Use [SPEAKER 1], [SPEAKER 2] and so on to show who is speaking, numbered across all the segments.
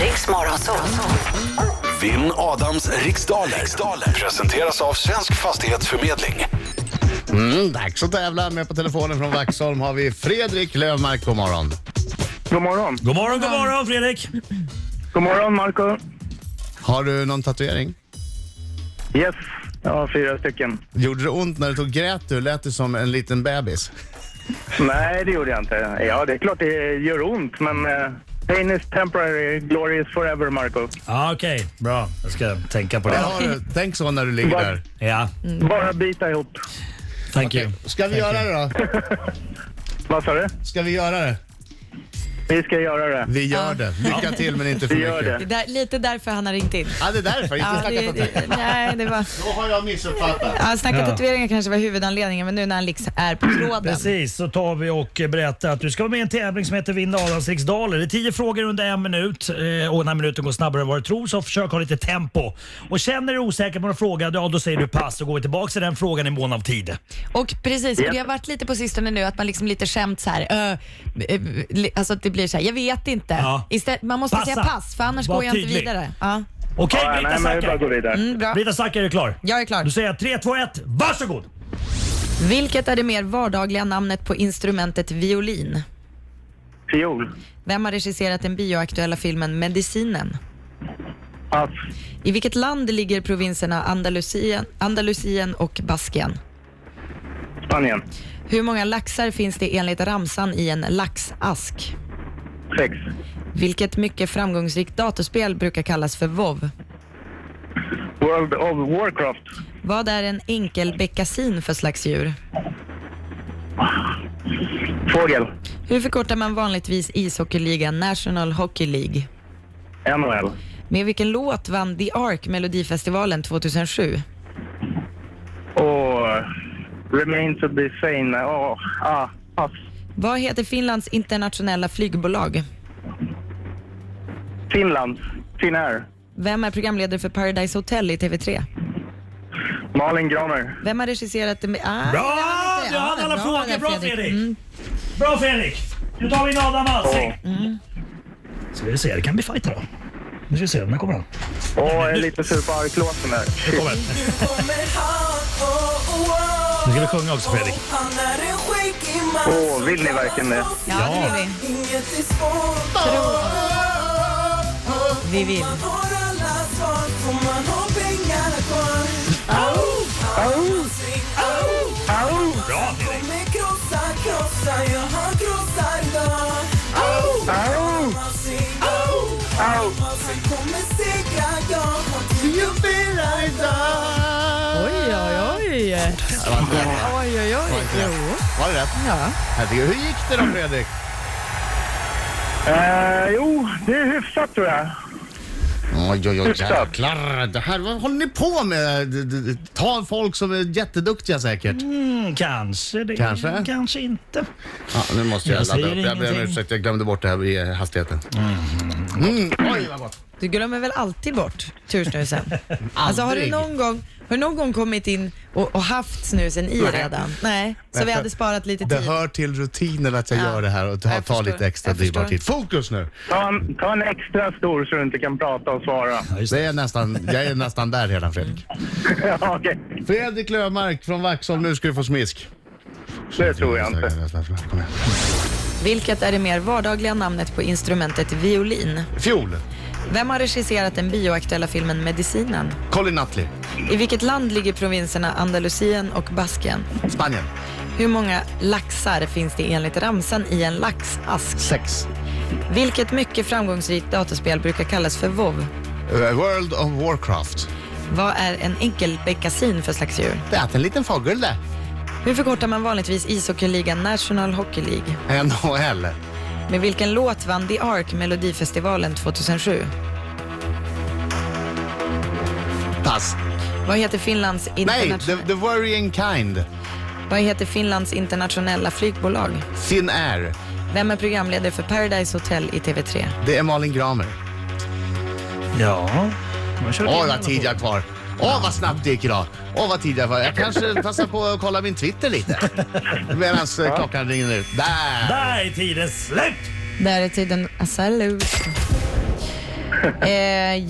[SPEAKER 1] Riks Morgonzoo.
[SPEAKER 2] Vinn Adams riksdaler. riksdaler presenteras av Svensk Fastighetsförmedling.
[SPEAKER 3] Mm, dags att tävla. Med på telefonen från Vaxholm har vi Fredrik Lövmark. God morgon.
[SPEAKER 4] God morgon.
[SPEAKER 5] God morgon, god morgon Fredrik!
[SPEAKER 4] God morgon, Marco.
[SPEAKER 3] Har du någon tatuering?
[SPEAKER 4] Yes, jag har fyra stycken.
[SPEAKER 3] Gjorde det ont när du tog grät du? Lät du som en liten bebis?
[SPEAKER 4] Nej, det gjorde jag inte. Ja, det är klart det gör ont, men eh, pain is temporary, glory is forever, Marco.
[SPEAKER 5] Ja, Okej, bra. Jag ska tänka på
[SPEAKER 3] Det
[SPEAKER 5] det.
[SPEAKER 3] har du. Tänk så när du ligger där.
[SPEAKER 5] Ja,
[SPEAKER 4] Bara bita ihop.
[SPEAKER 5] thank you.
[SPEAKER 3] Ska vi göra det då?
[SPEAKER 4] Vad sa du?
[SPEAKER 3] Ska vi göra det?
[SPEAKER 4] Vi ska göra det.
[SPEAKER 3] Vi gör det. Lycka till men inte för
[SPEAKER 4] Vi gör
[SPEAKER 3] mycket.
[SPEAKER 4] det.
[SPEAKER 6] Det är där, lite därför han har ringt in.
[SPEAKER 3] Ja, det är därför. Inte
[SPEAKER 6] Ja, det,
[SPEAKER 3] snackat om det.
[SPEAKER 6] det, nej, det var...
[SPEAKER 3] Då har jag missuppfattat.
[SPEAKER 6] Ja, snacka
[SPEAKER 5] Ja.
[SPEAKER 6] tatueringar kanske var huvudanledningen, men nu när han liksom är på
[SPEAKER 3] Mm,
[SPEAKER 6] tråden.
[SPEAKER 5] Precis, så tar vi och berättar att du ska vara med i en tävling som heter Vinn Adams riksdaler. Det är tio frågor under en minut eh, och när minuten går snabbare än vad du tror så försök ha lite tempo. Och känner du dig osäker på en fråga, ja då säger du pass och går vi tillbaka till den frågan i mån av tid.
[SPEAKER 6] Och precis, och det har varit lite på sistone nu att man liksom lite skämt så här. "Ö, eh, li- alltså att det blir så här, jag vet inte.
[SPEAKER 5] Ja.
[SPEAKER 6] Istället, man måste
[SPEAKER 5] Passa.
[SPEAKER 6] säga pass för annars
[SPEAKER 5] Var
[SPEAKER 6] går jag
[SPEAKER 5] tydlig.
[SPEAKER 6] inte vidare. Ja.
[SPEAKER 5] Okej
[SPEAKER 4] Ja,
[SPEAKER 5] Brita
[SPEAKER 4] nej, men vi bara går
[SPEAKER 5] Zackari?
[SPEAKER 4] vidare.
[SPEAKER 6] Mm, bra.
[SPEAKER 5] Brita Zackari, är du klar?
[SPEAKER 6] Jag är klar.
[SPEAKER 5] Då säger jag 3, 2, 1, varsågod!
[SPEAKER 6] Vilket är det mer vardagliga namnet på instrumentet violin?
[SPEAKER 4] Fiol.
[SPEAKER 6] Vem har regisserat den bioaktuella filmen Medicinen?
[SPEAKER 4] Pass.
[SPEAKER 6] I vilket land ligger provinserna Andalusien, Andalusien och Baskien?
[SPEAKER 4] Spanien.
[SPEAKER 6] Hur många laxar finns det enligt ramsan i en laxask?
[SPEAKER 4] Sex.
[SPEAKER 6] Vilket mycket framgångsrikt datorspel brukar kallas för WoW.
[SPEAKER 4] World of Warcraft.
[SPEAKER 6] Vad är en enkelbeckasin för slags djur?
[SPEAKER 4] Fågel.
[SPEAKER 6] Hur förkortar man vanligtvis ishockeyligan National Hockey League?
[SPEAKER 4] NHL.
[SPEAKER 6] Med vilken låt vann The Ark Melodifestivalen 2007?
[SPEAKER 4] Och Remain to be sane. Ja, ah, pass.
[SPEAKER 6] Vad heter Finlands internationella flygbolag?
[SPEAKER 4] Finland. Finnair.
[SPEAKER 6] Vem är programledare för Paradise Hotel i TV3?
[SPEAKER 4] Malin Graner.
[SPEAKER 6] Vem har regisserat... det med- Ah,
[SPEAKER 5] Bra!
[SPEAKER 6] det var inte-
[SPEAKER 5] Du hann
[SPEAKER 6] ja,
[SPEAKER 5] alla
[SPEAKER 6] bra
[SPEAKER 5] frågor.
[SPEAKER 6] Mm, där,
[SPEAKER 5] Bra Fredrik! Bra Fredrik! Nu tar vi in Adam Alsing. Mm. Ska vi se, det kan bli fight då. Nu ska vi se, när kommer han?
[SPEAKER 4] Och jag är lite sur på arklåten där.
[SPEAKER 5] Nu kommer han. Nu ska vi sjunga också Fredrik.
[SPEAKER 4] Åh, vill ni verkligen det?
[SPEAKER 6] Ja, det vill vi. Vi vill.
[SPEAKER 5] Bra Fredrik!
[SPEAKER 4] Au! Au!
[SPEAKER 6] Oj, oj, oj. Oj, oj, oj.
[SPEAKER 3] Var det rätt?
[SPEAKER 6] Ja.
[SPEAKER 3] Herregud, hur gick det då Fredrik?
[SPEAKER 4] Eh, jo, det är hyfsat tror jag.
[SPEAKER 3] Oj, oj, oj,
[SPEAKER 4] Hyfsat.
[SPEAKER 3] jäklar. Det här, vad håller ni på med? D- d- d- Ta folk som är jätteduktiga säkert.
[SPEAKER 5] Mm, Kanske det,
[SPEAKER 3] Kanske.
[SPEAKER 5] kanske inte.
[SPEAKER 3] Ja, nu måste jag,
[SPEAKER 5] Jag
[SPEAKER 3] ladda upp.
[SPEAKER 5] säger
[SPEAKER 3] Jag ber om
[SPEAKER 5] ingenting.
[SPEAKER 3] ursäkt, jag glömde bort det här i eh, hastigheten. Mm. Oj, vad gott.
[SPEAKER 6] Du glömmer väl alltid bort tursnusen? alltså, har, du
[SPEAKER 3] Aldrig.
[SPEAKER 6] någon gång, har du någon gång kommit in och, och haft snusen i redan? Nej, så vi
[SPEAKER 3] för-
[SPEAKER 6] hade sparat lite
[SPEAKER 3] Det
[SPEAKER 6] tid.
[SPEAKER 3] hör till rutinen att jag
[SPEAKER 6] Ja.
[SPEAKER 3] gör det här och ta,
[SPEAKER 6] Jag
[SPEAKER 3] ta
[SPEAKER 6] förstår.
[SPEAKER 3] lite extra
[SPEAKER 6] Jag
[SPEAKER 3] dyrbar
[SPEAKER 6] förstår.
[SPEAKER 3] tid. Fokus nu!
[SPEAKER 4] Ta en, ta en extra stor så du inte kan prata och svara.
[SPEAKER 3] Det är nästan, jag är nästan där redan Fredrik.
[SPEAKER 4] Ja, Okej,
[SPEAKER 3] Fredrik Löfmark från Vaxholm, nu ska du få smisk.
[SPEAKER 4] det tror jag inte.
[SPEAKER 3] Kom igen.
[SPEAKER 6] Vilket är det mer vardagliga namnet på instrumentet violin?
[SPEAKER 3] Fjol,
[SPEAKER 6] Vem har regisserat den bioaktuella filmen Medicinen?
[SPEAKER 3] Colin Nutley,
[SPEAKER 6] I vilket land ligger provinserna Andalusien och Baskien?
[SPEAKER 3] Spanien.
[SPEAKER 6] Hur många laxar finns det enligt ramsan i en laxask?
[SPEAKER 3] Sex.
[SPEAKER 6] Vilket mycket framgångsrikt datorspel brukar kallas för WoW?
[SPEAKER 3] Eh, World of Warcraft.
[SPEAKER 6] Vad är en enkelbeckasin för slags djur?
[SPEAKER 3] Det är en liten fågel det.
[SPEAKER 6] Hur förkortar man vanligtvis ishockeyligan National Hockey League?
[SPEAKER 3] NHL.
[SPEAKER 6] Med vilken låt vann The Ark Melodifestivalen 2007?
[SPEAKER 3] Pass.
[SPEAKER 6] Vad heter Finlands,
[SPEAKER 3] Nej, the,
[SPEAKER 6] internationella,
[SPEAKER 3] the Worrying Kind.
[SPEAKER 6] vad heter Finlands internationella flygbolag?
[SPEAKER 3] Finnair.
[SPEAKER 6] Vem är programledare för Paradise Hotel i TV3?
[SPEAKER 3] Det är Malin Gramer.
[SPEAKER 5] Ja.
[SPEAKER 3] Åh, vad tid jag har kvar. Åh, vad snabbt det gick idag. Åh, vad tid jag var. Jag kanske passar på att kolla min Twitter lite. Medan eh, klockan ringer ut. Där!
[SPEAKER 5] Där är tiden slut!
[SPEAKER 6] Där är tiden salut. Eh,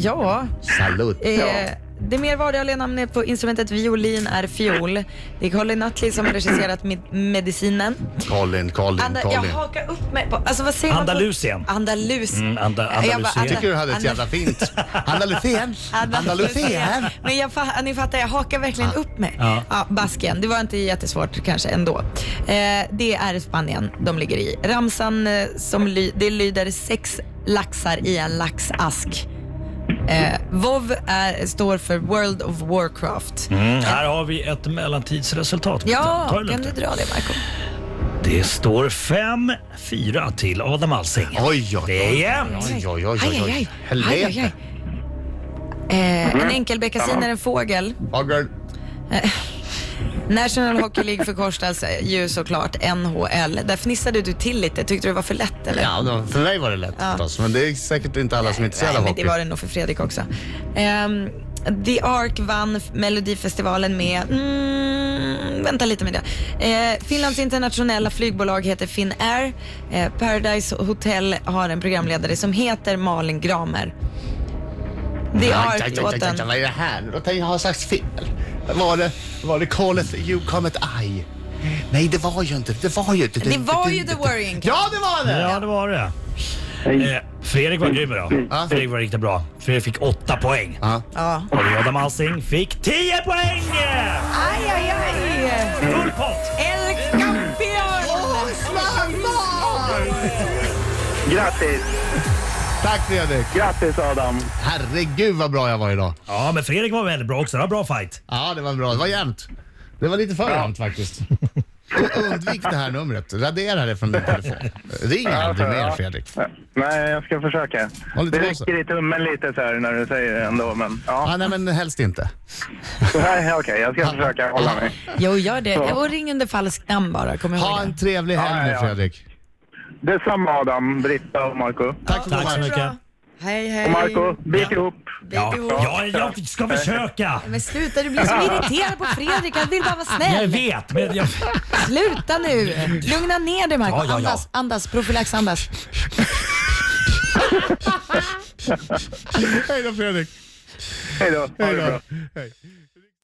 [SPEAKER 6] ja,
[SPEAKER 3] Salut.
[SPEAKER 6] eh, det mer vardagliga namnet på instrumentet violin är fiol. Det är Colin Nutley som har regisserat med- Medicinen.
[SPEAKER 3] Colin, Colin,
[SPEAKER 6] Anda, jag
[SPEAKER 3] Colin.
[SPEAKER 6] hakar upp mig på... Alltså vad säger
[SPEAKER 5] Andalusien.
[SPEAKER 6] man på? Andalusien.
[SPEAKER 5] Mm, Anda-
[SPEAKER 6] Jag bara,
[SPEAKER 5] Andalusien.
[SPEAKER 3] Jag tycker du hade ett
[SPEAKER 6] Andal-
[SPEAKER 3] jävla fint. Andalusien. Andalusien.
[SPEAKER 6] Men jag, fa- ni fattar, jag hakar verkligen upp mig.
[SPEAKER 5] Ja.
[SPEAKER 6] Ja. Basken, det var inte jättesvårt kanske ändå. Eh, det är Spanien de ligger i. Ramsan eh, som ly- det lyder sex laxar i en laxask. Eh, WoW är, står för World of Warcraft.
[SPEAKER 5] Mm, här har vi ett mellantidsresultat.
[SPEAKER 6] Ja,
[SPEAKER 5] Ta det
[SPEAKER 6] kan
[SPEAKER 5] lugnt.
[SPEAKER 6] du dra det Marco?
[SPEAKER 5] Det står 5-4 till Adam Alsing.
[SPEAKER 3] Oj, oj,
[SPEAKER 5] Det är
[SPEAKER 3] oj.
[SPEAKER 5] jämnt.
[SPEAKER 3] Oj, oj, oj,
[SPEAKER 6] Aj,
[SPEAKER 3] oj,
[SPEAKER 6] aj, aj.
[SPEAKER 3] oj.
[SPEAKER 6] aj, aj,
[SPEAKER 3] Helvete.
[SPEAKER 6] aj. Eh, en enkelbeckasin är en fågel.
[SPEAKER 3] Hagel.
[SPEAKER 6] National Hockey League förkortas ju såklart NHL. Där fnissade du till lite. Tyckte du det var för lätt eller?
[SPEAKER 3] Ja, då- för mig var det lätt förstås. Men det är säkert inte alla som är intresserade
[SPEAKER 6] Nej,
[SPEAKER 3] av
[SPEAKER 6] men
[SPEAKER 3] hockey.
[SPEAKER 6] det var det nog för Fredrik också. Ehm, The Ark vann f- Melodifestivalen med... Mm, vänta lite med det. Eh, Finlands internationella flygbolag heter Finnair. Eh, Paradise Hotel har en programledare som heter Malin Gramer. The
[SPEAKER 3] Aj, aj, aj, aj, aj,
[SPEAKER 6] Ark-låten.
[SPEAKER 3] Vad är det här nu? Då tänkte jag, jag har sagt fel. Var det, var det Calleth You Comet I? Nej, det var ju inte. Det var ju inte.
[SPEAKER 6] Det var ju The Worrying Cat.
[SPEAKER 3] Ja, det var det!
[SPEAKER 5] Ja, det var det. Eh, Fredrik var grym idag.
[SPEAKER 3] Ja.
[SPEAKER 5] Fredrik var riktigt bra. Fredrik fick 8 poäng.
[SPEAKER 3] Ja.
[SPEAKER 6] Ja.
[SPEAKER 5] Och Adam Alsing fick 10 poäng!
[SPEAKER 6] Aj, aj, aj!
[SPEAKER 5] Full pott!
[SPEAKER 6] El campeón!
[SPEAKER 4] Grattis!
[SPEAKER 3] Tack Fredrik!
[SPEAKER 4] Grattis Adam!
[SPEAKER 3] Herregud vad bra jag var idag.
[SPEAKER 5] Ja, men Fredrik var väldigt bra också. Det var bra fight.
[SPEAKER 3] Ja, det var bra. Det var jämnt. Det var lite för jämnt faktiskt. Undvik det här numret. Radera det från din telefon. Ring aldrig mer Fredrik.
[SPEAKER 4] Nej, jag ska försöka.
[SPEAKER 3] Håll lite
[SPEAKER 4] Det
[SPEAKER 3] på så.
[SPEAKER 4] rycker i tummen lite så här när du säger det ändå, men ja.
[SPEAKER 3] Ah, nej, men helst inte.
[SPEAKER 4] Nej, Okej, jag ska försöka hålla mig.
[SPEAKER 6] Jo, gör det. Och ring under falskt namn bara. Kom ihåg
[SPEAKER 3] Ha
[SPEAKER 6] det.
[SPEAKER 3] en trevlig helg
[SPEAKER 4] Ja,
[SPEAKER 3] nu
[SPEAKER 4] ja, ja.
[SPEAKER 3] Fredrik.
[SPEAKER 4] Detsamma Adam, Britta och Marco.
[SPEAKER 3] Tack för
[SPEAKER 5] Tack så
[SPEAKER 3] komma.
[SPEAKER 5] mycket.
[SPEAKER 6] Hej, hej.
[SPEAKER 4] Och Marco, bit ihop!
[SPEAKER 5] Ja,
[SPEAKER 6] Baby Wolf.
[SPEAKER 5] ja, jag ska försöka.
[SPEAKER 6] Men sluta, du blir så irriterad på Fredrik. Han vill bara vara
[SPEAKER 5] Jag
[SPEAKER 6] snäll.
[SPEAKER 5] vet, men jag...
[SPEAKER 6] Sluta nu. Lugna ner dig, Marco.
[SPEAKER 5] Ja, ja, ja.
[SPEAKER 6] Andas, andas. Profylax, andas.
[SPEAKER 3] Hej då Fredrik.
[SPEAKER 4] Hej då, ha
[SPEAKER 3] Hej
[SPEAKER 4] det bra!
[SPEAKER 3] då. Hej.